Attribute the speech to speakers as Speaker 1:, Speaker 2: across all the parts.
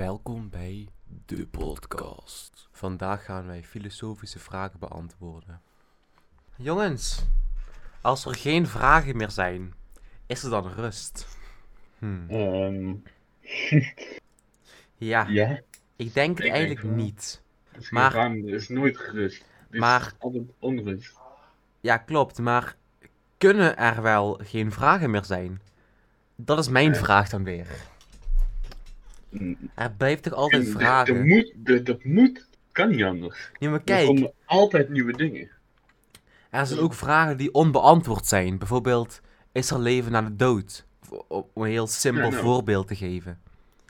Speaker 1: Welkom bij de podcast. Vandaag gaan wij filosofische vragen beantwoorden. Jongens, als er geen vragen meer zijn, is er dan rust? Hm,
Speaker 2: Ehm
Speaker 1: Ja,
Speaker 2: ja,
Speaker 1: ik denk het
Speaker 2: denk
Speaker 1: eigenlijk
Speaker 2: wel.
Speaker 1: niet.
Speaker 2: het is
Speaker 1: Maar-
Speaker 2: maar, ruim, er is nooit gerust. Er is
Speaker 1: Maar-
Speaker 2: altijd onrust.
Speaker 1: Ja, klopt, maar kunnen er wel geen vragen meer zijn? Dat is mijn vraag dan weer.
Speaker 2: En
Speaker 1: Er blijft toch altijd
Speaker 2: er- Er
Speaker 1: vragen?
Speaker 2: moet, er- dat moet, kan niet anders.
Speaker 1: Ja, maar
Speaker 2: Er
Speaker 1: kijk,
Speaker 2: komen altijd nieuwe dingen.
Speaker 1: Er zijn ook vragen die onbeantwoord zijn. Bijvoorbeeld, is er leven na de dood? Om- Om een heel simpel
Speaker 2: Ja, nou.
Speaker 1: voorbeeld te geven.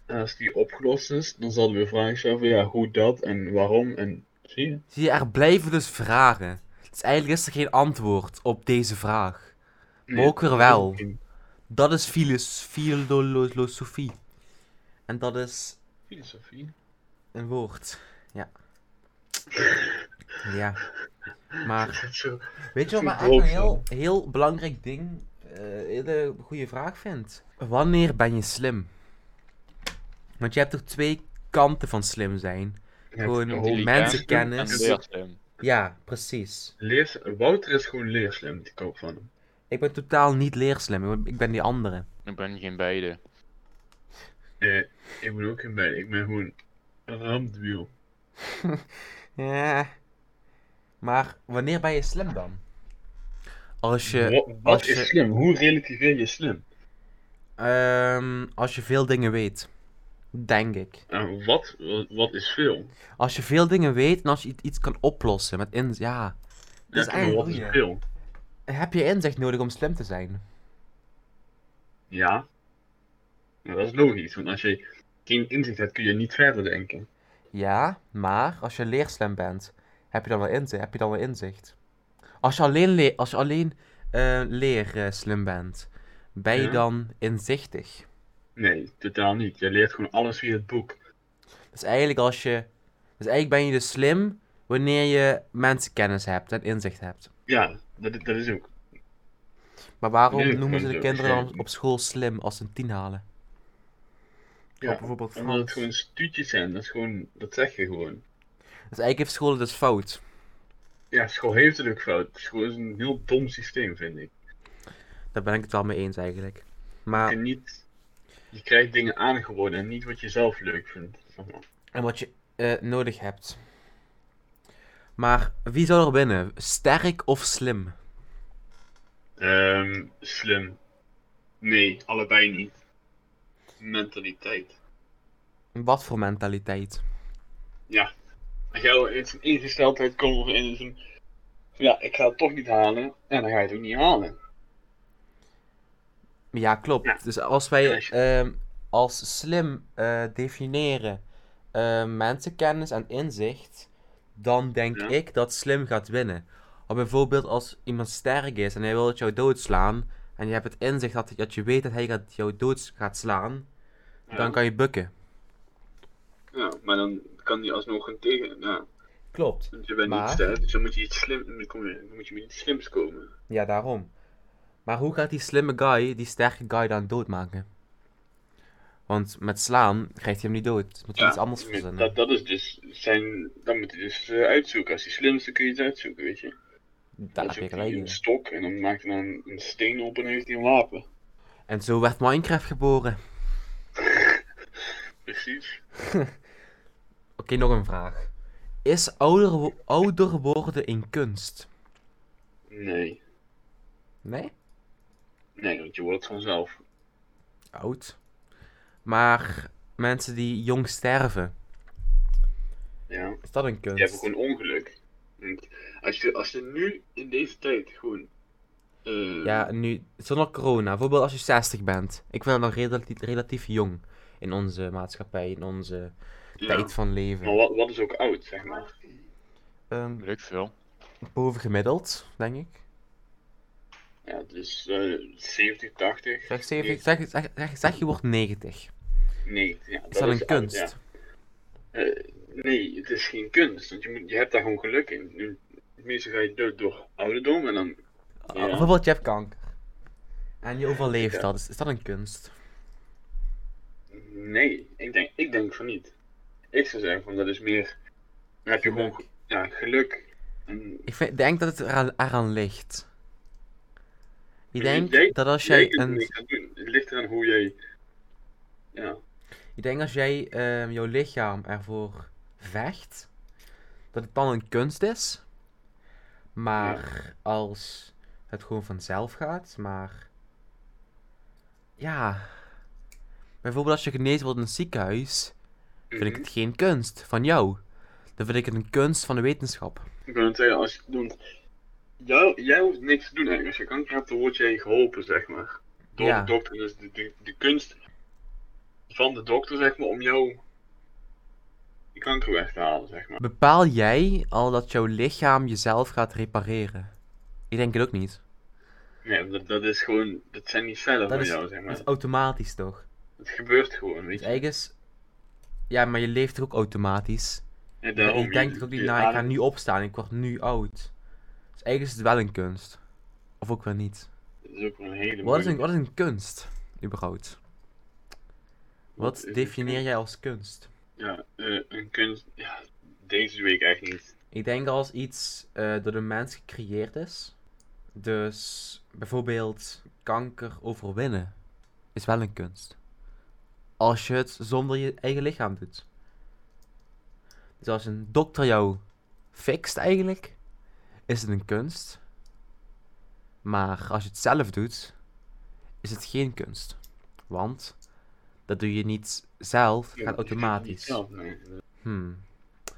Speaker 2: En als die opgelost is, dan zal we vragen stellen van ja, hoe dat en waarom en zie je?
Speaker 1: Zie je, er blijven dus vragen. Dus eigenlijk is er geen antwoord op deze vraag. Maar ook weer wel. Dat is filos- filosofie. En dat is
Speaker 2: Filosofie.
Speaker 1: een woord. Ja. Ja. Maar
Speaker 2: Zo,
Speaker 1: Weet je wat
Speaker 2: Ik
Speaker 1: maar
Speaker 2: vind het
Speaker 1: eigenlijk een heel,
Speaker 2: hoogste.
Speaker 1: heel belangrijk ding, eh hele goede vraag vindt? Wanneer ben je slim? Want je hebt toch twee kanten van slim zijn. Gewoon
Speaker 2: het-
Speaker 1: hoe mensen kennis.
Speaker 2: en leer-
Speaker 3: ehm,
Speaker 1: Ja, precies.
Speaker 2: Leers, Wouter is gewoon leerslim, ik koop van hem.
Speaker 1: Ik ben totaal niet leerslim, ik ben- ik ben die andere.
Speaker 3: Ik ben geen beide.
Speaker 2: Nee, ik ben ook geen bij, ik ben gewoon een rampwiel.
Speaker 1: Ja. Eh, Maar wanneer ben je slim dan? Als je,
Speaker 2: Wat,
Speaker 1: als
Speaker 2: wat
Speaker 1: je-
Speaker 2: is slim? Hoe relativeer je slim?
Speaker 1: ehm, als je veel dingen weet. Denk ik.
Speaker 2: En wat, wat, wat is veel?
Speaker 1: Als je veel dingen weet en als je i- iets kan oplossen met in... Ja. Dat is
Speaker 2: Ja, maar
Speaker 1: eigenlijk
Speaker 2: wat
Speaker 1: een
Speaker 2: is
Speaker 1: goeie.
Speaker 2: veel?
Speaker 1: Heb je inzicht nodig om slim te zijn?
Speaker 2: Ja. Maar dat is logisch, want als je geen inzicht hebt, kun je niet verder denken.
Speaker 1: Ja, maar als je leerslim bent, heb je dan wel inzicht? Heb je dan wel inzicht? Als je alleen, le- als je alleen eh, leer eh, slim bent, ben je
Speaker 2: Ja.
Speaker 1: dan inzichtig?
Speaker 2: Nee, totaal niet. Je leert gewoon alles via het boek.
Speaker 1: Dus eigenlijk als je. Dus eigenlijk ben je dus slim wanneer je mensenkennis hebt en inzicht hebt.
Speaker 2: Ja, dat, dat is ook.
Speaker 1: Maar waarom
Speaker 2: Nee,
Speaker 1: noemen ze
Speaker 2: want
Speaker 1: de
Speaker 2: er
Speaker 1: kinderen dan
Speaker 2: zijn-
Speaker 1: op school slim als ze een 10 halen?
Speaker 2: Ja,
Speaker 1: Op bijvoorbeeld
Speaker 2: Omdat het
Speaker 1: Frans.
Speaker 2: gewoon stuutjes zijn, dat is gewoon, dat zeg je gewoon.
Speaker 1: Dus eigenlijk heeft school het dus fout.
Speaker 2: Ja, school heeft het ook fout. School is een heel dom systeem, vind ik.
Speaker 1: Daar ben ik het wel mee eens eigenlijk.
Speaker 2: Je,
Speaker 1: Maar
Speaker 2: kan niet, je krijgt dingen aangeboden en niet wat je zelf leuk vindt.
Speaker 1: En wat je eh, nodig hebt. Maar wie zou er winnen? Sterk of slim?
Speaker 2: Ehm, slim. Nee, allebei niet. Mentaliteit.
Speaker 1: Wat voor mentaliteit?
Speaker 2: jouw het een ingesteldheid komt of in zo'n... van, Ja, ik ga het toch niet halen. En dan ga je het ook niet halen.
Speaker 1: Ja, klopt.
Speaker 2: Ja.
Speaker 1: Dus als wij
Speaker 2: Ja, als je-
Speaker 1: ehm, als slim eh, definiëren eh, mensenkennis en inzicht, dan denk
Speaker 2: Ja.
Speaker 1: ik dat slim gaat winnen. Want bijvoorbeeld als iemand sterk is en hij wil jou doodslaan, en je hebt het inzicht dat, dat je weet dat hij gaat, jou dood gaat slaan, dan kan je bukken.
Speaker 2: Ja, maar dan kan die alsnog een tegen... Ja,
Speaker 1: Klopt.
Speaker 2: want je bent
Speaker 1: Maar-
Speaker 2: niet sterk, dus dan moet je iets slim... Dan, kom je, dan moet je met iets slims komen.
Speaker 1: Ja, daarom. Maar hoe gaat die slimme guy die sterke guy dan doodmaken? Want met slaan krijgt hij hem niet dood. Moet hij iets anders
Speaker 2: met-
Speaker 1: verzinnen.
Speaker 2: dat, dat is dus zijn... Dan moet je dus eh, uitzoeken. Als die slimste kun je het uitzoeken, weet je.
Speaker 1: Daar
Speaker 2: dan
Speaker 1: heb je
Speaker 2: zoekt
Speaker 1: gelijk
Speaker 2: hij
Speaker 1: in.
Speaker 2: een stok en dan maakt hij dan een, een steen op en heeft hij een wapen.
Speaker 1: En zo werd Minecraft geboren. Oké,
Speaker 2: Precies.
Speaker 1: nog een vraag. Is ouder, wo- ouder worden een kunst?
Speaker 2: Nee.
Speaker 1: Nee?
Speaker 2: Nee, want je wordt het vanzelf.
Speaker 1: Oud. Maar mensen die jong sterven,
Speaker 2: Ja.
Speaker 1: is dat een kunst?
Speaker 2: Je hebt gewoon ongeluk. Want Als je, als je nu in deze tijd gewoon. eh,
Speaker 1: Ja, nu, zonder corona, bijvoorbeeld als je 60 bent. Ik vind dat nog relatief, relatief jong in onze maatschappij, in onze
Speaker 2: ja.
Speaker 1: tijd van leven.
Speaker 2: Maar wat, wat is ook oud, zeg maar?
Speaker 1: Ehm,
Speaker 3: Weet ik veel.
Speaker 1: boven gemiddeld, denk ik.
Speaker 2: Ja, dus eh 70, 80.
Speaker 1: Zeg, 70, zeg, zeg, zeg, zeg je wordt 90.
Speaker 2: Nee, ja,
Speaker 1: Is dat een
Speaker 2: oud,
Speaker 1: kunst?
Speaker 2: ja. Eh, nee, het is geen kunst. Want je, moet, je hebt daar gewoon geluk in. Nu, meestal ga je dood door ouderdom en dan.
Speaker 1: Ah, Bijvoorbeeld, je hebt dus kanker. En je overleeft dat. Is, is dat een kunst?
Speaker 2: Nee, ik denk, ik denk van niet. Ik zou zeggen van dat is meer. Dan heb je gewoon ge- ja, geluk. En
Speaker 1: Ik vind- denk dat het eraan, eraan ligt. Ik
Speaker 2: Ik
Speaker 1: denk
Speaker 2: denk-
Speaker 1: dat als
Speaker 2: jij
Speaker 1: jij
Speaker 2: kunt er
Speaker 1: een
Speaker 2: niks aan doen. Het ligt eraan hoe jij. Ja.
Speaker 1: Ik denk als jij ehm, jouw lichaam ervoor vecht, dat het dan een kunst is. Maar als het gewoon vanzelf gaat, maar. Ja. Bijvoorbeeld als je genezen wordt in een ziekenhuis, vind ik
Speaker 2: Mhm.
Speaker 1: het geen kunst van jou. Dan vind ik het een kunst van de wetenschap.
Speaker 2: Ik wil het zeggen, als je want jou, jij hoeft niks te doen eigenlijk. Als je kanker hebt, dan word jij geholpen, zeg maar. Door
Speaker 1: Ja.
Speaker 2: de dokter. Dus de, de, de kunst van de dokter, zeg maar, om jou die kanker weg te halen, zeg maar.
Speaker 1: Bepaal jij al dat jouw lichaam jezelf gaat repareren? Ik denk het ook niet.
Speaker 2: Nee, dat, dat is gewoon, dat zijn niet cellen
Speaker 1: Dat
Speaker 2: van
Speaker 1: is-
Speaker 2: jou, zeg maar.
Speaker 1: Dat is automatisch toch?
Speaker 2: Het gebeurt gewoon, weet
Speaker 1: Dus
Speaker 2: je.
Speaker 1: eigenlijk is. Ja, maar je leeft toch ook automatisch?
Speaker 2: Ja,
Speaker 1: Ja,
Speaker 2: daarom,
Speaker 1: ik denk
Speaker 2: je-
Speaker 1: er ook niet
Speaker 2: je
Speaker 1: na, ik ga
Speaker 2: adem-
Speaker 1: nu opstaan, ik word nu oud. Dus eigenlijk is het wel een kunst. Of ook wel niet.
Speaker 2: Dat is ook wel een hele
Speaker 1: Wat is een,
Speaker 2: moeilijke.
Speaker 1: wat is een kunst, überhaupt? Wat
Speaker 2: is een
Speaker 1: definieer
Speaker 2: kunst?
Speaker 1: jij als kunst?
Speaker 2: Ja, eh, een kunst, ja, deze week echt niet.
Speaker 1: Ik denk als iets eh, door de mens gecreëerd is. Dus bijvoorbeeld kanker overwinnen is wel een kunst. Als je het zonder je eigen lichaam doet. Dus als een dokter jou fixt eigenlijk, is het een kunst. Maar als je het zelf doet, is het geen kunst. Want dat doe je niet zelf, het
Speaker 2: Ja,
Speaker 1: gaat
Speaker 2: dat is niet
Speaker 1: automatisch.
Speaker 2: zelf, nee.
Speaker 1: Hmm.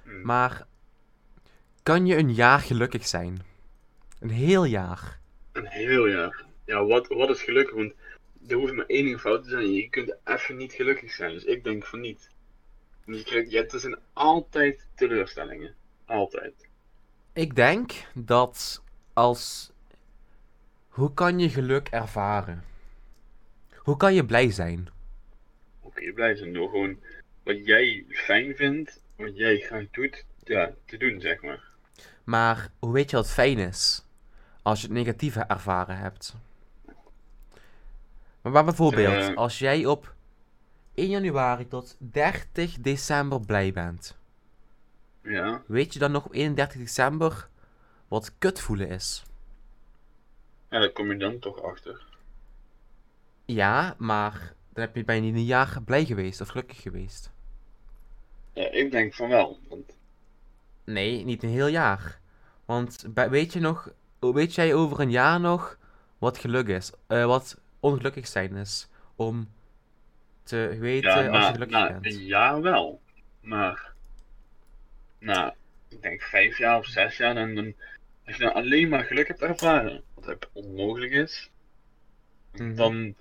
Speaker 2: Hm.
Speaker 1: Maar kan je een jaar gelukkig zijn? Een heel jaar.
Speaker 2: Een heel jaar. Ja, wat, wat is gelukkig? Want er hoeft maar één ding fout te zijn. Je kunt even niet gelukkig zijn. Dus ik denk van niet. Want je krijgt, ja, er zijn altijd teleurstellingen. Altijd.
Speaker 1: Ik denk dat als. Hoe kan je geluk ervaren? Hoe kan je blij zijn?
Speaker 2: Oké, je blij zijn door gewoon wat jij fijn vindt, wat jij graag doet, ja, te doen, zeg maar.
Speaker 1: Maar hoe weet je wat fijn is? Als je het negatieve ervaren hebt. Maar, maar bijvoorbeeld,
Speaker 2: Eh.
Speaker 1: als jij op 1 januari tot 30 december blij bent.
Speaker 2: Ja,
Speaker 1: Weet je dan nog op 31 december wat kut voelen is?
Speaker 2: ja daar kom je dan toch achter.
Speaker 1: Ja, maar dan heb je bijna niet een jaar blij geweest of gelukkig geweest.
Speaker 2: Ja, ik denk van wel. Want
Speaker 1: Nee, niet een heel jaar. Want bij- weet je nog, weet jij over een jaar nog wat geluk is, eh, wat ongelukkig zijn is, om te
Speaker 2: ja,
Speaker 1: weten eh, als je
Speaker 2: na,
Speaker 1: gelukkig
Speaker 2: na
Speaker 1: bent?
Speaker 2: een jaar wel. Maar na, ik denk vijf jaar of zes jaar, dan, dan als je dan alleen maar geluk hebt ervaren, wat heb onmogelijk is,
Speaker 1: Mhm.
Speaker 2: dan,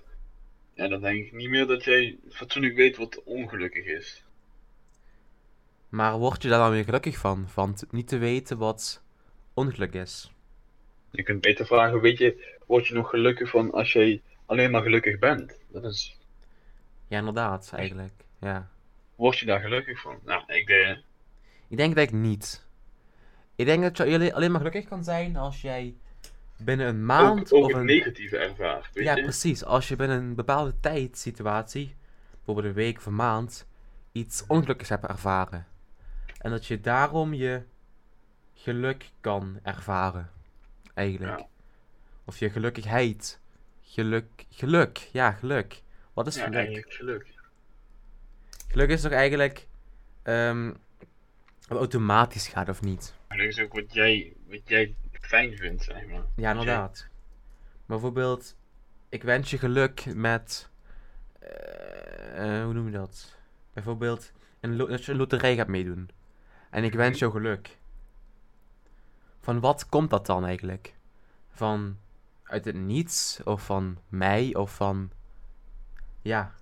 Speaker 2: ja, dan denk ik niet meer dat jij fatsoenlijk weet wat ongelukkig is.
Speaker 1: Maar word je daar dan weer gelukkig van, van t- niet te weten wat ongeluk is?
Speaker 2: Je kunt beter vragen, weet je, word je nog gelukkig van als jij alleen maar gelukkig bent? Dat is,
Speaker 1: Ja, inderdaad, eigenlijk. Ja.
Speaker 2: word je daar gelukkig van? Nou, ik eh,
Speaker 1: Ik denk dat ik niet. Ik denk dat je alle- alleen maar gelukkig kan zijn als jij binnen een maand
Speaker 2: ook, ook
Speaker 1: of
Speaker 2: het
Speaker 1: een
Speaker 2: negatieve ervaart, weet
Speaker 1: Ja,
Speaker 2: je?
Speaker 1: precies. Als je binnen een bepaalde tijdsituatie, bijvoorbeeld een week of een maand, iets
Speaker 2: Mhm.
Speaker 1: ongelukkigs hebt ervaren. En dat je daarom je geluk kan ervaren. Eigenlijk.
Speaker 2: Ja.
Speaker 1: Of je gelukkigheid. Geluk. Geluk. Ja, geluk. Wat is
Speaker 2: Ja,
Speaker 1: geluk?
Speaker 2: eigenlijk geluk.
Speaker 1: Geluk is toch eigenlijk ehm, wat automatisch gaat of niet?
Speaker 2: Maar dat is ook wat jij, wat jij fijn vindt, zeg maar.
Speaker 1: Ja, inderdaad. Maar bijvoorbeeld, ik wens je geluk met. eh, eh, hoe noem je dat? Bijvoorbeeld, een lo- dat je een loterij gaat meedoen. En ik wens jou geluk. Van wat komt dat dan eigenlijk? Van uit het niets? Of van mij? Of van. Ja.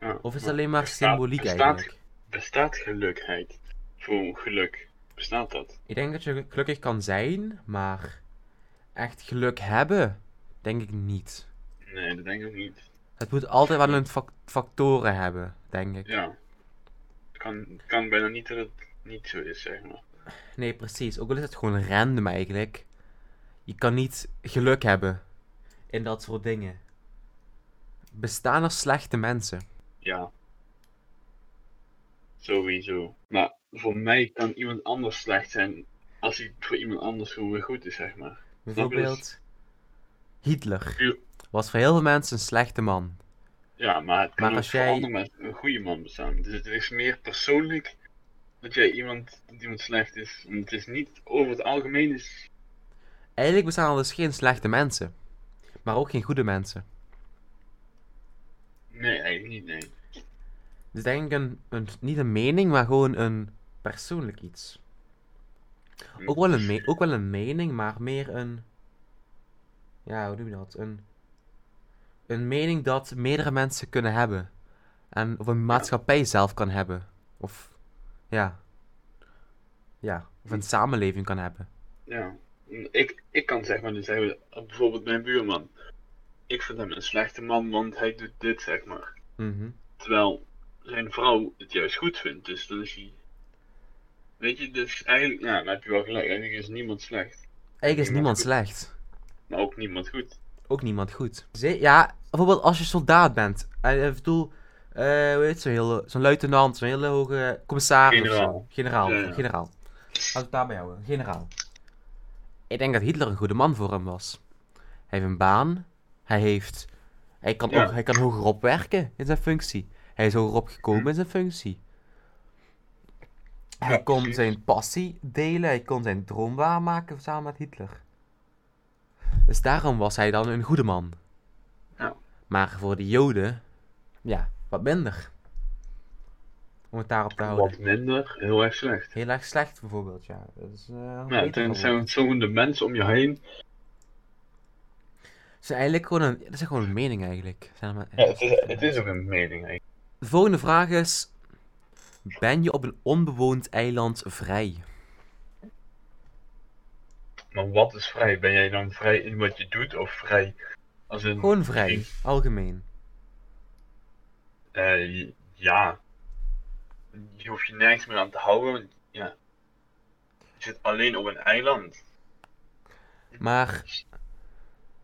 Speaker 2: Ja,
Speaker 1: Of is het
Speaker 2: maar
Speaker 1: alleen maar
Speaker 2: bestaat-
Speaker 1: symboliek
Speaker 2: bestaat-
Speaker 1: eigenlijk?
Speaker 2: Bestaat gelukheid voor geluk? Bestaat dat?
Speaker 1: Ik denk dat je gelukkig kan zijn, maar echt geluk hebben, denk ik niet.
Speaker 2: Nee, dat denk ik ook niet.
Speaker 1: Het moet altijd wel een fac- factoren hebben, denk ik.
Speaker 2: Ja. Het kan, kan bijna niet dat het niet zo is, zeg maar.
Speaker 1: Nee, precies. Ook al is het gewoon random eigenlijk. Je kan niet geluk hebben in dat soort dingen. Bestaan er slechte mensen?
Speaker 2: Ja. Sowieso. Maar voor mij kan iemand anders slecht zijn als hij voor iemand anders gewoon weer goed is, zeg maar. Dus
Speaker 1: Bijvoorbeeld Hitler.
Speaker 2: Ja.
Speaker 1: Was voor heel veel mensen een slechte man.
Speaker 2: Ja, maar het kan
Speaker 1: Maar
Speaker 2: ook
Speaker 1: als
Speaker 2: voor
Speaker 1: jij-
Speaker 2: andere mensen een goede man bestaan. Dus het is meer persoonlijk dat jij iemand, dat iemand slecht is. Want het is niet over het algemeen is.
Speaker 1: Eigenlijk bestaan er dus geen slechte mensen. Maar ook geen goede mensen.
Speaker 2: Nee, eigenlijk niet, nee.
Speaker 1: Dus denk ik een, een, niet een mening, maar gewoon een persoonlijk iets. Ook wel een, me- ook wel een mening, maar meer een. Ja, hoe noem je dat? Een, een mening dat meerdere mensen kunnen hebben. En, of een maatschappij zelf kan hebben. Of. Ja. Ja, of een samenleving kan hebben.
Speaker 2: Ja, ik, ik kan zeg maar, dus zeggen, bijvoorbeeld mijn buurman. Ik vind hem een slechte man, want hij doet dit, zeg maar.
Speaker 1: Mhm.
Speaker 2: Terwijl zijn vrouw het juist goed vindt, dus dan is hij... Weet je, dus eigenlijk, ja, dan heb je wel gelijk. Eigenlijk is niemand slecht,
Speaker 1: Eigenlijk is
Speaker 2: Niemand
Speaker 1: niemand
Speaker 2: goed.
Speaker 1: slecht.
Speaker 2: maar ook niemand goed.
Speaker 1: ook niemand goed. Ze- Ja, bijvoorbeeld als je soldaat bent. En ik bedoel, eh, hoe heet zo'n hele, zo'n luitenant, zo'n hele hoge commissaris of zo.
Speaker 2: Generaal.
Speaker 1: Generaal,
Speaker 2: Ja, ja.
Speaker 1: generaal. Laat het daarbij houden, generaal. Ik denk dat Hitler een goede man voor hem was. Hij heeft een baan, hij heeft, hij kan,
Speaker 2: Ja.
Speaker 1: ook, hij kan hogerop werken in zijn functie. Hij is hogerop gekomen
Speaker 2: Hm.
Speaker 1: in zijn functie. Hij
Speaker 2: Ja,
Speaker 1: kon
Speaker 2: precies.
Speaker 1: zijn passie delen, hij kon zijn droom waarmaken samen met Hitler. Dus daarom was hij dan een goede man.
Speaker 2: Ja.
Speaker 1: Maar voor de Joden, ja, wat minder. Om het daarop te houden.
Speaker 2: Wat minder, heel erg slecht.
Speaker 1: Heel erg slecht bijvoorbeeld, ja. Dat is, eh, een
Speaker 2: Ja,
Speaker 1: beter
Speaker 2: dan
Speaker 1: voorbeeld.
Speaker 2: zijn het zo'n de mensen om je heen.
Speaker 1: Het is eigenlijk gewoon een, dat is gewoon een mening eigenlijk. Zijn maar-
Speaker 2: Ja, het is, het is ook een mening eigenlijk.
Speaker 1: De volgende vraag is: Ben je op een onbewoond eiland vrij?
Speaker 2: Maar wat is vrij? Ben jij dan vrij in wat je doet, of vrij als een...
Speaker 1: Gewoon vrij, algemeen.
Speaker 2: Eh, ja. Je hoeft je nergens meer aan te houden. want, Ja. Je zit alleen op een eiland.
Speaker 1: Maar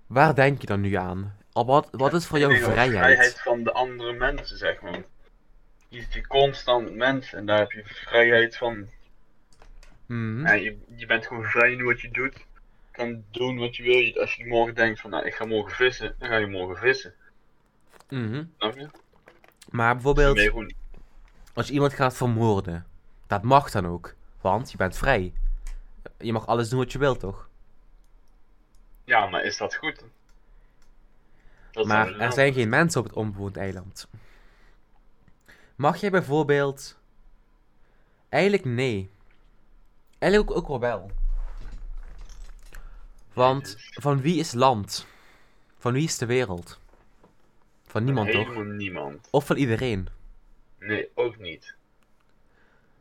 Speaker 1: waar denk je dan nu aan? Al Wat, wat is voor jou
Speaker 2: Ik denk ook
Speaker 1: vrijheid?
Speaker 2: vrijheid van de andere mensen, zeg maar. Je zit je constant mens en daar heb je vrijheid van.
Speaker 1: Mhm.
Speaker 2: Ja, je, je bent gewoon vrij in wat je doet. Je kan doen wat je wil. Je- Als je morgen denkt van, nou, ik ga morgen vissen, dan ga je morgen vissen.
Speaker 1: mhm.
Speaker 2: Snap je?
Speaker 1: Maar bijvoorbeeld,
Speaker 2: Nee, gewoon,
Speaker 1: als je iemand gaat vermoorden, dat mag dan ook, want je bent vrij. Je mag alles doen wat je wilt, toch?
Speaker 2: ja, maar is dat goed? Dat
Speaker 1: Maar
Speaker 2: zou-
Speaker 1: er zijn geen mensen op het onbewoond eiland. Mag jij bijvoorbeeld. Eigenlijk nee. Eigenlijk ook, ook wel wel. Want van wie is land? Van wie is de wereld? Van niemand toch?
Speaker 2: Helemaal niemand.
Speaker 1: Of van iedereen?
Speaker 2: Nee, ook niet.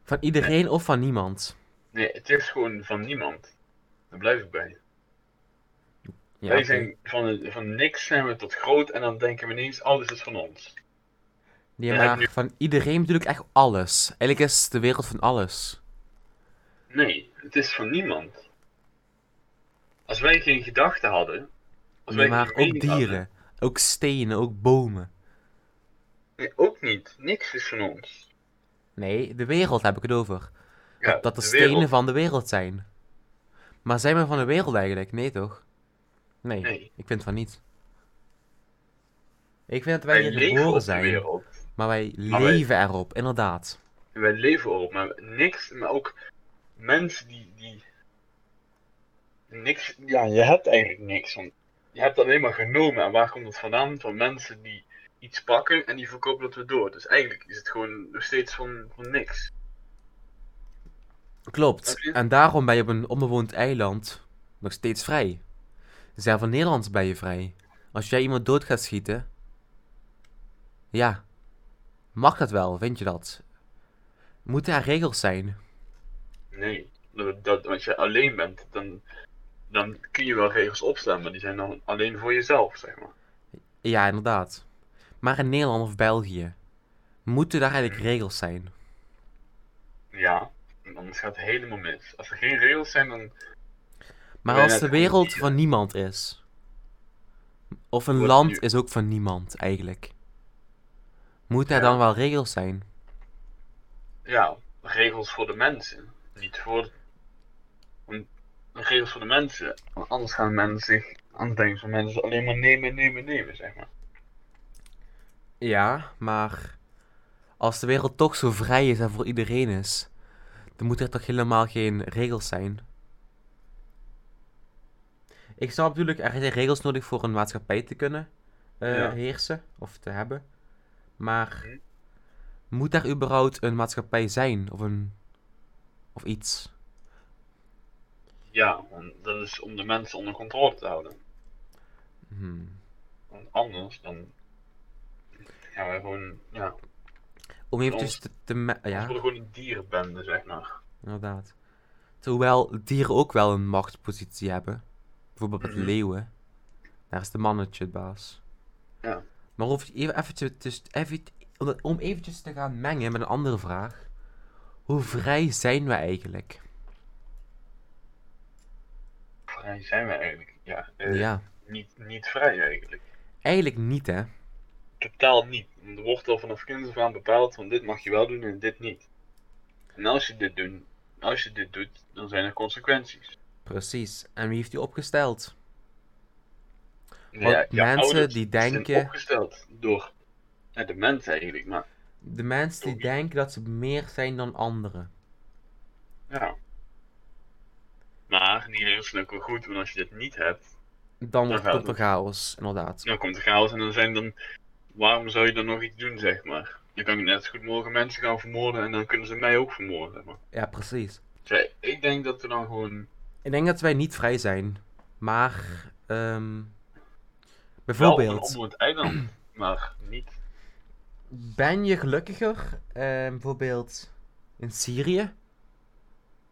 Speaker 1: Van iedereen of van niemand?
Speaker 2: Nee, het is gewoon van niemand. Daar blijf ik bij.
Speaker 1: Ja,
Speaker 2: Wij
Speaker 1: oké.
Speaker 2: zijn van, van niks zijn we tot groot en dan denken we ineens alles is van ons.
Speaker 1: Nee,
Speaker 2: Ja,
Speaker 1: maar
Speaker 2: nu-
Speaker 1: van iedereen natuurlijk echt alles. Eigenlijk is de wereld van alles.
Speaker 2: Nee, het is van niemand. Als wij geen gedachten hadden. Als
Speaker 1: Nee,
Speaker 2: wij
Speaker 1: maar
Speaker 2: geen
Speaker 1: ook
Speaker 2: mening hadden-
Speaker 1: dieren, ook stenen, ook bomen.
Speaker 2: nee, ook niet. Niks is van ons.
Speaker 1: Nee, de wereld heb ik het over.
Speaker 2: Ja,
Speaker 1: dat er
Speaker 2: de
Speaker 1: stenen
Speaker 2: wereld-
Speaker 1: van de wereld zijn. Maar zijn we van de wereld eigenlijk? Nee, toch? Nee,
Speaker 2: Nee.
Speaker 1: ik vind van niet. Ik vind dat wij
Speaker 2: Wij
Speaker 1: hier
Speaker 2: leven op
Speaker 1: geboren
Speaker 2: de
Speaker 1: zijn,
Speaker 2: wereld.
Speaker 1: maar wij
Speaker 2: Maar wij-
Speaker 1: leven erop, inderdaad.
Speaker 2: Wij leven erop, maar niks, maar ook mensen die, die niks, ja, je hebt eigenlijk niks. Want je hebt alleen maar genomen. En waar komt dat vandaan? Van mensen die iets pakken en die verkopen dat weer door. Dus eigenlijk is het gewoon nog steeds van, van niks.
Speaker 1: Klopt,
Speaker 2: Snap je?
Speaker 1: en daarom ben je op een onbewoond eiland nog steeds vrij. Zelf in Nederland ben je vrij. Als jij iemand dood gaat schieten, ja, mag dat wel, vind je dat? Moeten er regels zijn?
Speaker 2: Nee, dat, dat- als je alleen bent, dan, dan kun je wel regels opstellen, maar die zijn dan alleen voor jezelf, zeg maar.
Speaker 1: Ja, inderdaad. Maar in Nederland of België moeten daar eigenlijk regels zijn.
Speaker 2: Ja, en anders gaat het helemaal mis. Als er geen regels zijn, dan
Speaker 1: Maar
Speaker 2: Nee,
Speaker 1: als
Speaker 2: dat
Speaker 1: de
Speaker 2: kan niet,
Speaker 1: wereld
Speaker 2: ja.
Speaker 1: van niemand is, of een
Speaker 2: Wordt
Speaker 1: land
Speaker 2: nu-
Speaker 1: is ook van niemand eigenlijk, moeten er
Speaker 2: Ja.
Speaker 1: dan wel regels zijn?
Speaker 2: ja, regels voor de mensen. Niet voor. een- regels voor de mensen. Want anders gaan mensen zich. Anders denken van mensen alleen maar nemen, nemen, nemen, zeg maar.
Speaker 1: Ja, maar als de wereld toch zo vrij is en voor iedereen is, dan moeten er toch helemaal geen regels zijn. Ik snap natuurlijk, er zijn regels nodig voor een maatschappij te kunnen eh,
Speaker 2: Ja.
Speaker 1: heersen of te hebben. Maar
Speaker 2: Mhm.
Speaker 1: moet daar überhaupt een maatschappij zijn of een of iets?
Speaker 2: Ja, want dat is om de mensen onder controle te houden.
Speaker 1: Hmm.
Speaker 2: Want anders dan. gaan wij gewoon. Ja,
Speaker 1: Om eventjes
Speaker 2: ons-
Speaker 1: te, te me-
Speaker 2: we
Speaker 1: ja,
Speaker 2: worden gewoon een dierenbende, zeg maar.
Speaker 1: inderdaad. Terwijl dieren ook wel een machtspositie hebben. Bijvoorbeeld met
Speaker 2: Mhm.
Speaker 1: leeuwen. Daar is de mannetje het baas.
Speaker 2: Ja.
Speaker 1: Maar om even, eventjes, dus, even, om- om eventjes te gaan mengen met een andere vraag. Hoe vrij zijn we eigenlijk?
Speaker 2: Vrij zijn we eigenlijk. Ja, eh,
Speaker 1: Ja,
Speaker 2: Niet, niet vrij eigenlijk.
Speaker 1: eigenlijk niet hè.
Speaker 2: Totaal niet. Want Er wordt al vanaf kinds af aan bepaald van dit mag je wel doen en dit niet. En als je dit, doen, als je dit doet, dan zijn er consequenties.
Speaker 1: Precies. En wie heeft die opgesteld?
Speaker 2: Ja,
Speaker 1: Want
Speaker 2: je
Speaker 1: mensen
Speaker 2: ouders
Speaker 1: die
Speaker 2: zijn
Speaker 1: denken-
Speaker 2: opgesteld door ja, de mens eigenlijk, maar
Speaker 1: De mensen die
Speaker 2: Sorry.
Speaker 1: denken dat ze meer zijn dan anderen.
Speaker 2: ja. Maar die regels zijn ook wel goed, want als je dit niet hebt,
Speaker 1: Dan wordt
Speaker 2: gaat
Speaker 1: het een
Speaker 2: het.
Speaker 1: chaos, inderdaad.
Speaker 2: dan komt de chaos en dan zijn dan... Waarom zou je dan nog iets doen, zeg maar? Je kan net zo goed morgen mensen gaan vermoorden en dan kunnen ze mij ook vermoorden, zeg maar.
Speaker 1: Ja, precies.
Speaker 2: Dus ik denk dat we dan gewoon
Speaker 1: Ik denk dat wij niet vrij zijn. Maar, ehm
Speaker 2: Wel
Speaker 1: bijvoorbeeld,
Speaker 2: onder het eiland, maar niet.
Speaker 1: ben je gelukkiger, ehm, bijvoorbeeld in Syrië,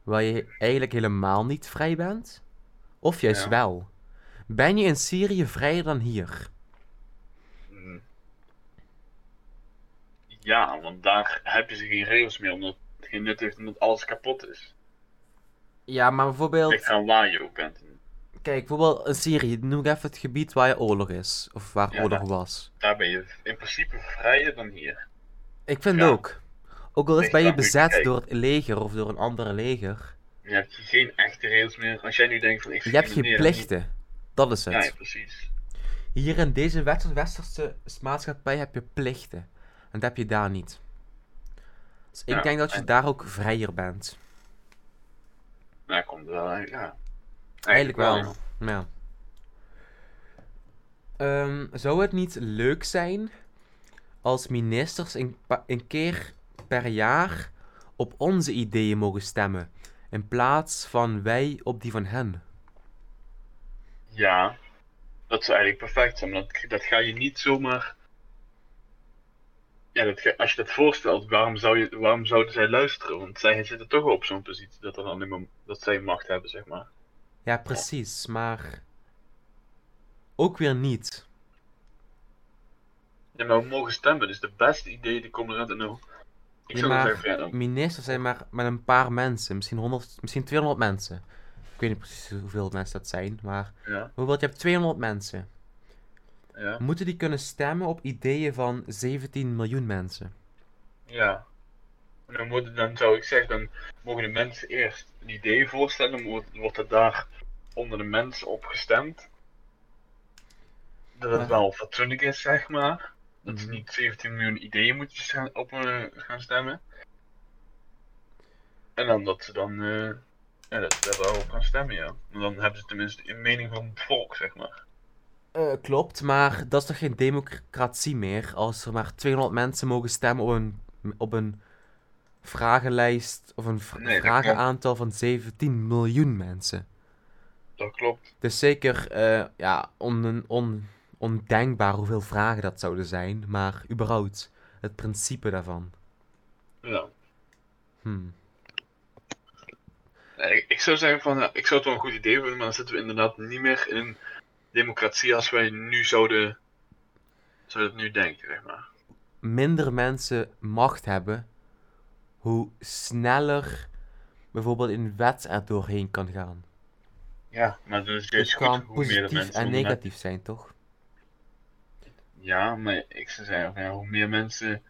Speaker 1: waar je eigenlijk helemaal niet vrij bent? Of juist
Speaker 2: Ja.
Speaker 1: wel? Ben je in Syrië vrijer dan hier?
Speaker 2: mm. Ja, want daar heb je ze geen regels meer, omdat het geen nut heeft, omdat alles kapot is.
Speaker 1: Ja, maar
Speaker 2: Kijk
Speaker 1: bijvoorbeeld,
Speaker 2: aan waar je ook bent.
Speaker 1: kijk, bijvoorbeeld in Syrië, noem ik even het gebied waar je oorlog is, of waar
Speaker 2: Ja,
Speaker 1: oorlog
Speaker 2: dat-
Speaker 1: was.
Speaker 2: Daar ben je in principe vrijer dan hier.
Speaker 1: Ik vind
Speaker 2: Ja.
Speaker 1: ook, ook al is
Speaker 2: Ligt
Speaker 1: ben je
Speaker 2: eraan hoe je
Speaker 1: bezet
Speaker 2: kijkt.
Speaker 1: door het leger of door een andere leger,
Speaker 2: Je hebt geen echte regels meer. Als jij nu denkt van ik
Speaker 1: je hebt geen
Speaker 2: discrimineer niet-
Speaker 1: plichten. Dat is het.
Speaker 2: Ja, ja, precies.
Speaker 1: Hier in deze west- westerse maatschappij heb je plichten. En dat heb je daar niet. Dus ik
Speaker 2: Ja,
Speaker 1: denk dat je
Speaker 2: en-
Speaker 1: daar ook vrijer bent.
Speaker 2: Daar Nou, komt wel, ja. Eigenlijk,
Speaker 1: Eigenlijk wel.
Speaker 2: ja.
Speaker 1: Ja. Ehm, zou het niet leuk zijn als ministers een, pa- een keer per jaar op onze ideeën mogen stemmen? In plaats van wij op die van hen.
Speaker 2: Ja, dat zou eigenlijk perfect zijn, maar dat, dat ga je niet zomaar. Ja, dat ga- als je dat voorstelt, waarom, zou je, waarom zouden zij luisteren? Want zij zitten toch op zo'n positie dat, er dan alleen maar, dat zij macht hebben, zeg maar.
Speaker 1: Ja, precies, maar ook weer niet.
Speaker 2: Ja, maar we mogen stemmen, dus de beste ideeën die komen eruit. En nou, ik
Speaker 1: Ja,
Speaker 2: zou dan
Speaker 1: maar-
Speaker 2: zeggen, van, ja,
Speaker 1: ministers zijn maar met een paar mensen, misschien 100, misschien 200 mensen. Ik weet niet precies hoeveel mensen dat zijn, maar
Speaker 2: ja,
Speaker 1: bijvoorbeeld je hebt 200 mensen.
Speaker 2: ja,
Speaker 1: Moeten die kunnen stemmen op ideeën van 17 miljoen mensen?
Speaker 2: ja. En dan, moet, dan zou ik zeggen, dan mogen de mensen eerst een idee voorstellen, dan wordt, wordt dat daar onder de mensen op gestemd. Dat het
Speaker 1: Maar-
Speaker 2: wel fatsoenlijk is, zeg maar. Dat ze
Speaker 1: Mhm.
Speaker 2: niet 17 miljoen ideeën moeten staan- op eh, gaan stemmen. En dan dat ze dan eh ja, dat ze daar wel op gaan stemmen, ja. En dan hebben ze tenminste een mening van het volk, zeg maar.
Speaker 1: Eh, klopt, maar dat is toch geen democratie meer als er maar 200 mensen mogen stemmen op een, op een vragenlijst of een vra-
Speaker 2: Nee, dat
Speaker 1: vragenaantal van 17 miljoen mensen?
Speaker 2: Dat klopt.
Speaker 1: Het is zeker eh, ja, on, on- on, ondenkbaar hoeveel vragen dat zouden zijn, maar überhaupt het principe daarvan.
Speaker 2: Ja.
Speaker 1: Hmm.
Speaker 2: Nee, Eh, ik- ik zou zeggen van, ja, ik zou het wel een goed idee vinden, maar dan zitten we inderdaad niet meer in een democratie als wij nu zouden, zouden het nu denken, zeg maar.
Speaker 1: Minder mensen macht hebben, hoe sneller bijvoorbeeld een wet er doorheen kan gaan.
Speaker 2: Ja, maar dus
Speaker 1: Het
Speaker 2: is goed
Speaker 1: kan
Speaker 2: hoe meer de
Speaker 1: positief
Speaker 2: mensen...
Speaker 1: en
Speaker 2: hoe meer-
Speaker 1: negatief zijn, toch?
Speaker 2: Ja, maar ik zou zeggen van, ja, hoe meer mensen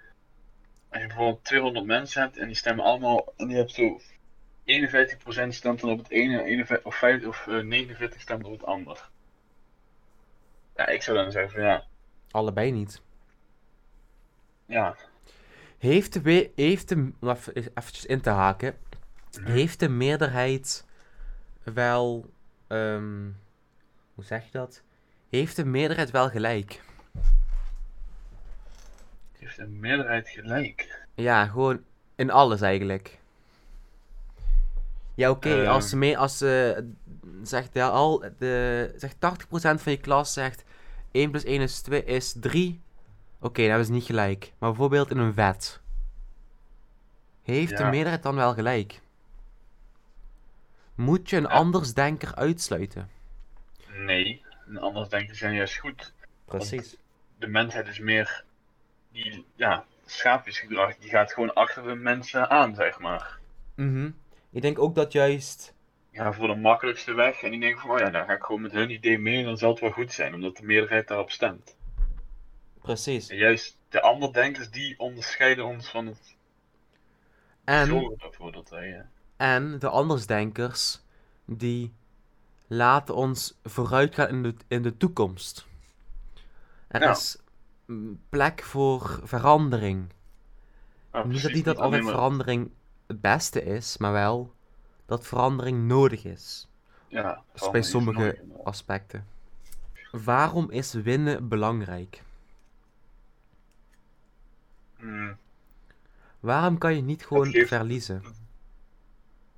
Speaker 2: als je bijvoorbeeld 200 mensen hebt en die stemmen allemaal, en je hebt zo 51% stemt dan op het ene, 51 of, 50, of eh, 49 stemt op het ander. Ja, ik zou dan zeggen van ja,
Speaker 1: Allebei niet.
Speaker 2: ja,
Speaker 1: Heeft de, we- heeft de om even eventjes in te haken, heeft de meerderheid wel, ehm, hoe zeg je dat? Heeft de meerderheid wel gelijk?
Speaker 2: heeft de meerderheid gelijk.
Speaker 1: Ja, gewoon in alles eigenlijk. Ja, oké,
Speaker 2: Ehm.
Speaker 1: als ze mee, als ze zegt de, al, de, zegt 80% van je klas zegt 1 plus 1 is 2 is 3. Oké, dan hebben ze niet gelijk. Maar bijvoorbeeld in een wet. Heeft de
Speaker 2: Ja.
Speaker 1: meerderheid dan wel gelijk? Moet je een andersdenker uitsluiten?
Speaker 2: Nee, en anders denk ik zijn juist goed. Precies. De mensheid is meer, die, ja, schaapjesgedrag, die gaat gewoon achter de mensen aan, zeg maar.
Speaker 1: Mhm. Ik denk ook dat juist
Speaker 2: Die gaan voor de makkelijkste weg en die denken van, oh ja, dan ga ik gewoon met hun idee mee en dan zal het wel goed zijn, omdat de meerderheid daarop stemt.
Speaker 1: Precies.
Speaker 2: En juist de anderdenkers die onderscheiden ons van het
Speaker 1: En
Speaker 2: zorgen ervoor dat wij. eh,
Speaker 1: En de andersdenkers die laten ons vooruitgaan in de, in de toekomst. Er
Speaker 2: Ja.
Speaker 1: is mm, plek voor verandering.
Speaker 2: nou,
Speaker 1: niet dat
Speaker 2: precies,
Speaker 1: niet dat altijd
Speaker 2: alleen maar-
Speaker 1: verandering het beste is, maar wel dat verandering nodig is.
Speaker 2: Ja,
Speaker 1: Dat is
Speaker 2: verandering
Speaker 1: bij
Speaker 2: is
Speaker 1: sommige
Speaker 2: nooit-
Speaker 1: aspecten. Waarom is winnen belangrijk?
Speaker 2: Mm,
Speaker 1: Waarom kan je niet gewoon
Speaker 2: geeft-
Speaker 1: verliezen?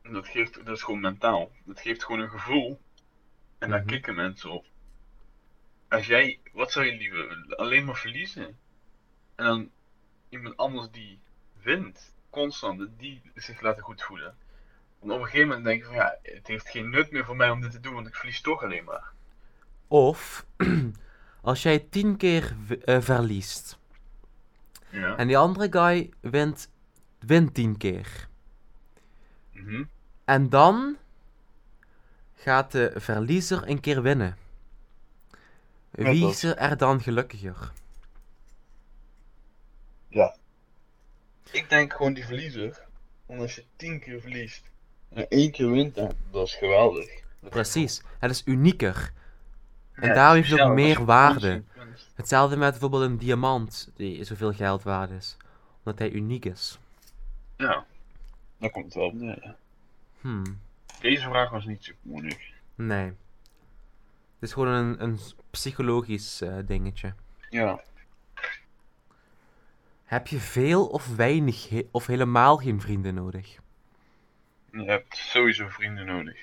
Speaker 2: dat, geeft, dat is gewoon mentaal. Dat geeft gewoon een gevoel. En daar
Speaker 1: Mhm.
Speaker 2: kicken mensen op. Als jij, wat zou je liever willen? Alleen maar verliezen. En dan iemand anders die wint, constant, die zich laten goed voelen. Want op een gegeven moment denk je van ja, het heeft geen nut meer voor mij om dit te doen, want ik verlies toch alleen maar.
Speaker 1: Of als jij tien keer w- eh, verliest
Speaker 2: Ja.
Speaker 1: en die andere guy wint, wint tien keer.
Speaker 2: Mhm.
Speaker 1: En dan gaat de verliezer een keer winnen.
Speaker 2: Ja,
Speaker 1: Wie
Speaker 2: dat.
Speaker 1: is er dan gelukkiger?
Speaker 2: Ik denk gewoon die verliezer. Want als je tien keer verliest en één keer wint, dan- dat is geweldig. Dat
Speaker 1: Precies, het is unieker.
Speaker 2: Ja,
Speaker 1: En daarom heeft het ook
Speaker 2: speciaal,
Speaker 1: meer
Speaker 2: als je
Speaker 1: waarde.
Speaker 2: kunst-
Speaker 1: Hetzelfde met bijvoorbeeld een diamant, die zoveel geld waard is. Omdat hij uniek is.
Speaker 2: Ja, daar komt het wel op neer, ja.
Speaker 1: Hmm,
Speaker 2: Deze vraag was niet zo moeilijk.
Speaker 1: nee. Het is gewoon een, een psychologisch eh, dingetje.
Speaker 2: Ja.
Speaker 1: Heb je veel of weinig he- of helemaal geen vrienden nodig?
Speaker 2: Je hebt sowieso vrienden nodig.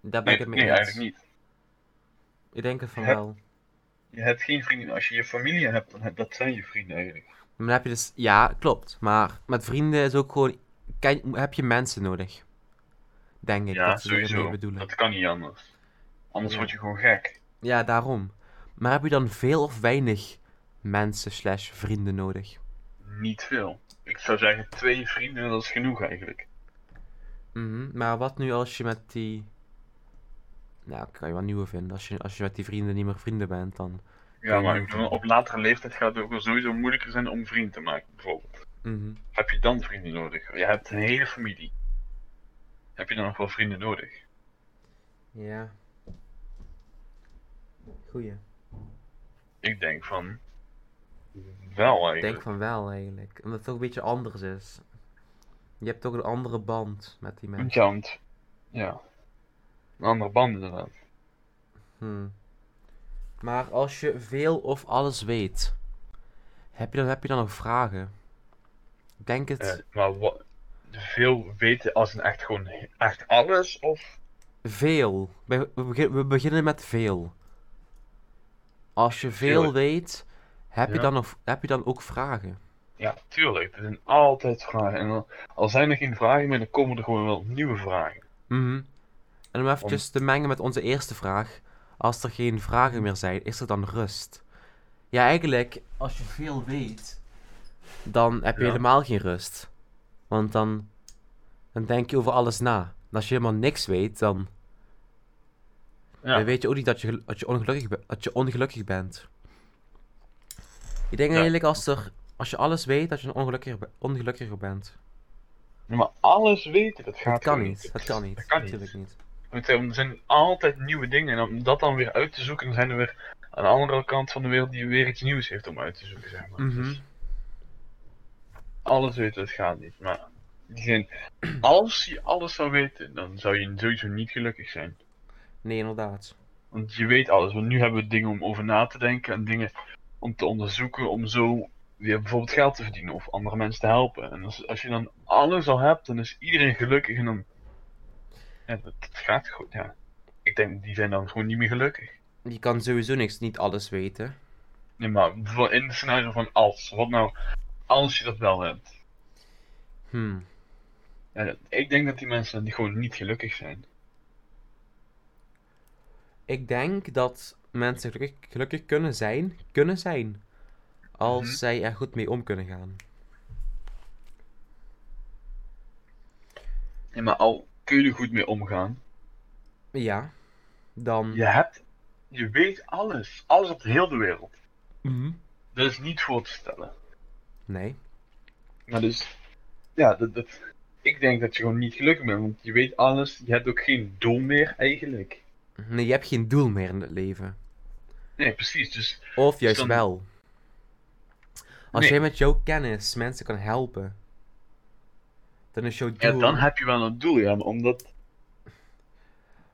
Speaker 1: Daar ben
Speaker 2: Nee,
Speaker 1: ik het mee
Speaker 2: nee,
Speaker 1: eens.
Speaker 2: eigenlijk niet.
Speaker 1: Ik denk het van
Speaker 2: Heb-
Speaker 1: wel.
Speaker 2: Je hebt geen vrienden. Als je je familie hebt, dan heb, dat zijn je vrienden eigenlijk.
Speaker 1: Maar Dan heb je dus, ja, klopt. Maar met vrienden is ook gewoon, ken- heb je mensen nodig. Denk ik,
Speaker 2: ja,
Speaker 1: dat ze ermee
Speaker 2: sowieso.
Speaker 1: bedoelen.
Speaker 2: Dat kan niet anders. Anders
Speaker 1: Ja.
Speaker 2: word je gewoon gek.
Speaker 1: Ja, daarom. Maar heb je dan veel of weinig mensen slash vrienden nodig?
Speaker 2: Niet veel. Ik zou zeggen, twee vrienden, dat is genoeg eigenlijk.
Speaker 1: Mhm, Maar wat nu als je met die... Nou, kan je wel nieuwe vinden. Als je, als je met die vrienden niet meer vrienden bent, dan...
Speaker 2: Ja, maar ik bedoel, op latere leeftijd gaat het ook wel sowieso moeilijker zijn om vrienden te maken, bijvoorbeeld.
Speaker 1: Mhm.
Speaker 2: Heb je dan vrienden nodig? Je hebt een hele familie. Heb je dan nog wel vrienden nodig?
Speaker 1: Ja. Goeie.
Speaker 2: Ik denk van... Wel
Speaker 1: Ik denk
Speaker 2: eigenlijk.
Speaker 1: van wel, eigenlijk. Omdat het ook een beetje anders is. Je hebt ook een andere band met die mensen.
Speaker 2: Ja, want- Ja. Een andere band inderdaad.
Speaker 1: Hmm. Maar als je veel of alles weet, heb je dan, heb je dan nog vragen? Ik denk het.
Speaker 2: Eh, maar wat... Veel weten als een echt gewoon... Echt alles? Of...
Speaker 1: Veel. We, we begin- we beginnen met veel. Als je veel
Speaker 2: Veel.
Speaker 1: weet, heb, je
Speaker 2: Ja.
Speaker 1: dan nog, heb je dan ook vragen?
Speaker 2: Ja, tuurlijk. Er zijn altijd vragen. En al- al zijn er geen vragen meer, dan komen er gewoon wel nieuwe vragen.
Speaker 1: Mhm. En om eventjes te mengen met onze eerste vraag. Als er geen vragen meer zijn, is er dan rust? Ja, eigenlijk, als je veel weet, dan heb je
Speaker 2: Ja.
Speaker 1: helemaal geen rust. Want dan, dan denk je over alles na. En als je helemaal niks weet, dan,
Speaker 2: Ja.
Speaker 1: dan weet je ook niet dat je, gel- dat, je ongelukkig, be- dat je ongelukkig bent. Ik denk
Speaker 2: Ja.
Speaker 1: eigenlijk als er Als je alles weet, dat je een ongelukkiger, be- ongelukkiger bent.
Speaker 2: Ja, maar alles weten, dat gaat
Speaker 1: Dat kan
Speaker 2: gewoon
Speaker 1: niet. Dat kan niet.
Speaker 2: Dat kan niet.
Speaker 1: Natuurlijk niet.
Speaker 2: Ik zeg, Er zijn altijd nieuwe dingen. En om dat dan weer uit te zoeken, dan zijn er weer aan de andere kant van de wereld die weer iets nieuws heeft om uit te zoeken, zeg maar.
Speaker 1: Mhm.
Speaker 2: Dus alles weten, dat gaat niet. Maar die zin, als je alles zou weten, dan zou je sowieso niet gelukkig zijn.
Speaker 1: Nee, inderdaad.
Speaker 2: Want je weet alles. Want nu hebben we dingen om over na te denken en dingen om te onderzoeken. Om zo weer bijvoorbeeld geld te verdienen of andere mensen te helpen. En als, als je dan alles al hebt, dan is iedereen gelukkig en dan. Ja, dat, dat gaat goed. Ja. Ik denk, die zijn dan gewoon niet meer gelukkig.
Speaker 1: Je kan sowieso niks, niet alles weten.
Speaker 2: Nee, maar voor- in het scenario van als. Wat nou als je dat wel hebt?
Speaker 1: Hm.
Speaker 2: Ja, dat- ik denk dat die mensen die gewoon niet gelukkig zijn.
Speaker 1: Ik denk dat mensen gelukkig, gelukkig kunnen zijn, kunnen zijn, als
Speaker 2: Mhm.
Speaker 1: zij er goed mee om kunnen gaan.
Speaker 2: Ja, maar al kun je er goed mee omgaan.
Speaker 1: Ja, dan.
Speaker 2: Je hebt. Je weet alles. Alles op heel de wereld.
Speaker 1: Mhm.
Speaker 2: Dat is niet voor te stellen.
Speaker 1: Nee.
Speaker 2: Maar dus, ja, dat, dat, ik denk dat je gewoon niet gelukkig bent, want je weet alles, je hebt ook geen doel meer eigenlijk.
Speaker 1: nee, je hebt geen doel meer in het leven.
Speaker 2: Nee, precies, dus
Speaker 1: Of juist
Speaker 2: dan-
Speaker 1: wel. Als
Speaker 2: Nee.
Speaker 1: jij met jouw kennis mensen kan helpen, dan is jouw
Speaker 2: ja,
Speaker 1: doel.
Speaker 2: dan heb je wel een doel, ja, maar omdat,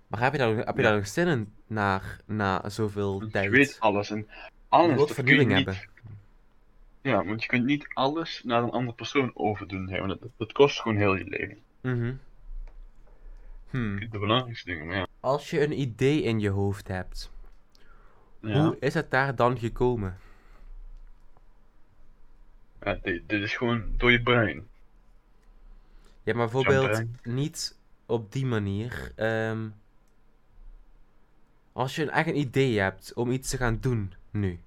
Speaker 1: Maar heb je daar, heb je
Speaker 2: Ja.
Speaker 1: daar nog zin in naar, na zoveel
Speaker 2: want
Speaker 1: tijd?
Speaker 2: je weet alles en alles,
Speaker 1: je wilt
Speaker 2: dat kun je
Speaker 1: vernieuwing
Speaker 2: niet,
Speaker 1: hebben.
Speaker 2: ja, want je kunt niet alles naar een andere persoon overdoen, hè, want dat, dat kost gewoon heel je leven.
Speaker 1: Mhm. Hm.
Speaker 2: De belangrijkste dingen, maar ja.
Speaker 1: Als je een idee in je hoofd hebt,
Speaker 2: ja.
Speaker 1: hoe is het daar dan gekomen?
Speaker 2: ja, dit, dit is gewoon door je brein.
Speaker 1: Ja, maar bijvoorbeeld niet op die manier. ehm, als je een echt een idee hebt om iets te gaan doen nu,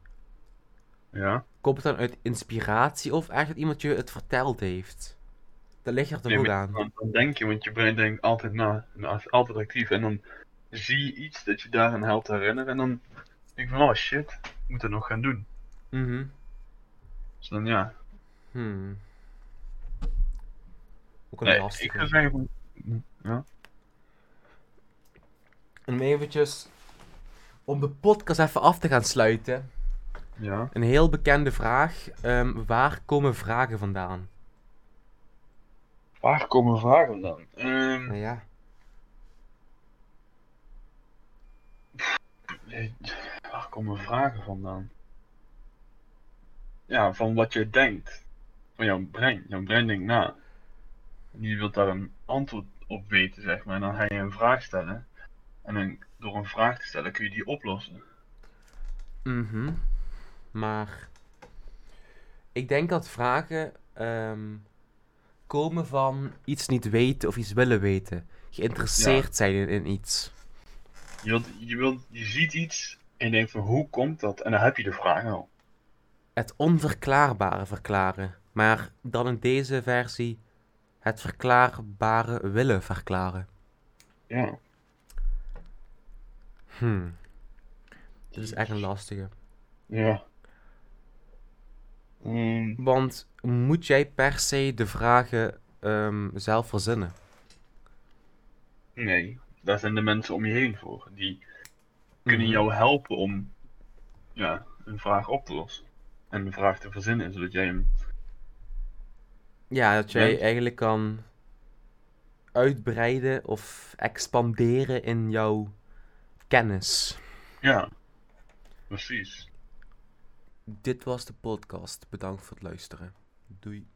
Speaker 2: Ja,
Speaker 1: komt het dan uit inspiratie of echt dat iemand je het verteld heeft? Dat ligt er toch
Speaker 2: Nee,
Speaker 1: ook
Speaker 2: maar-
Speaker 1: aan?
Speaker 2: want dan denk je, want je brein denkt altijd na, en is altijd actief, en dan zie je iets dat je daaraan helpt herinneren, en dan denk je van, oh shit, ik moet dat nog gaan doen.
Speaker 1: Mhm.
Speaker 2: Dus dan ja.
Speaker 1: Hmm. Ook een
Speaker 2: Nee, ik
Speaker 1: lastige.
Speaker 2: zou zeggen van- Ja.
Speaker 1: Om eventjes, om de podcast even af te gaan sluiten.
Speaker 2: Ja.
Speaker 1: Een heel bekende vraag. ehm, waar komen vragen vandaan?
Speaker 2: Waar komen vragen dan? Ehm,
Speaker 1: Nou ja,
Speaker 2: eh, waar komen vragen vandaan? Ja, van wat je denkt. Van jouw brein. Jouw brein denkt na. En je wilt daar een antwoord op weten, zeg maar. En dan ga je een vraag stellen. En dan, door een vraag te stellen kun je die oplossen.
Speaker 1: mhm. maar ik denk dat vragen ehm, komen van iets niet weten of iets willen weten. Geïnteresseerd zijn in, in iets.
Speaker 2: Je, wilt, je, wilt, je ziet iets en je denkt van hoe komt dat? En dan heb je de vraag al.
Speaker 1: Het onverklaarbare verklaren. Maar dan in deze versie het verklaarbare willen verklaren.
Speaker 2: Ja.
Speaker 1: Hm. Dit is echt een lastige.
Speaker 2: Ja. Ehm,
Speaker 1: Want moet jij per se de vragen ehm, zelf verzinnen?
Speaker 2: Nee, daar zijn de mensen om je heen voor. Die kunnen
Speaker 1: Mhm.
Speaker 2: jou helpen om ja, een vraag op te lossen. En een vraag te verzinnen, zodat jij hem.
Speaker 1: Ja, dat jij
Speaker 2: Ja.
Speaker 1: eigenlijk kan uitbreiden of expanderen in jouw kennis.
Speaker 2: Ja, precies.
Speaker 1: Dit was de podcast. Bedankt voor het luisteren. Doei.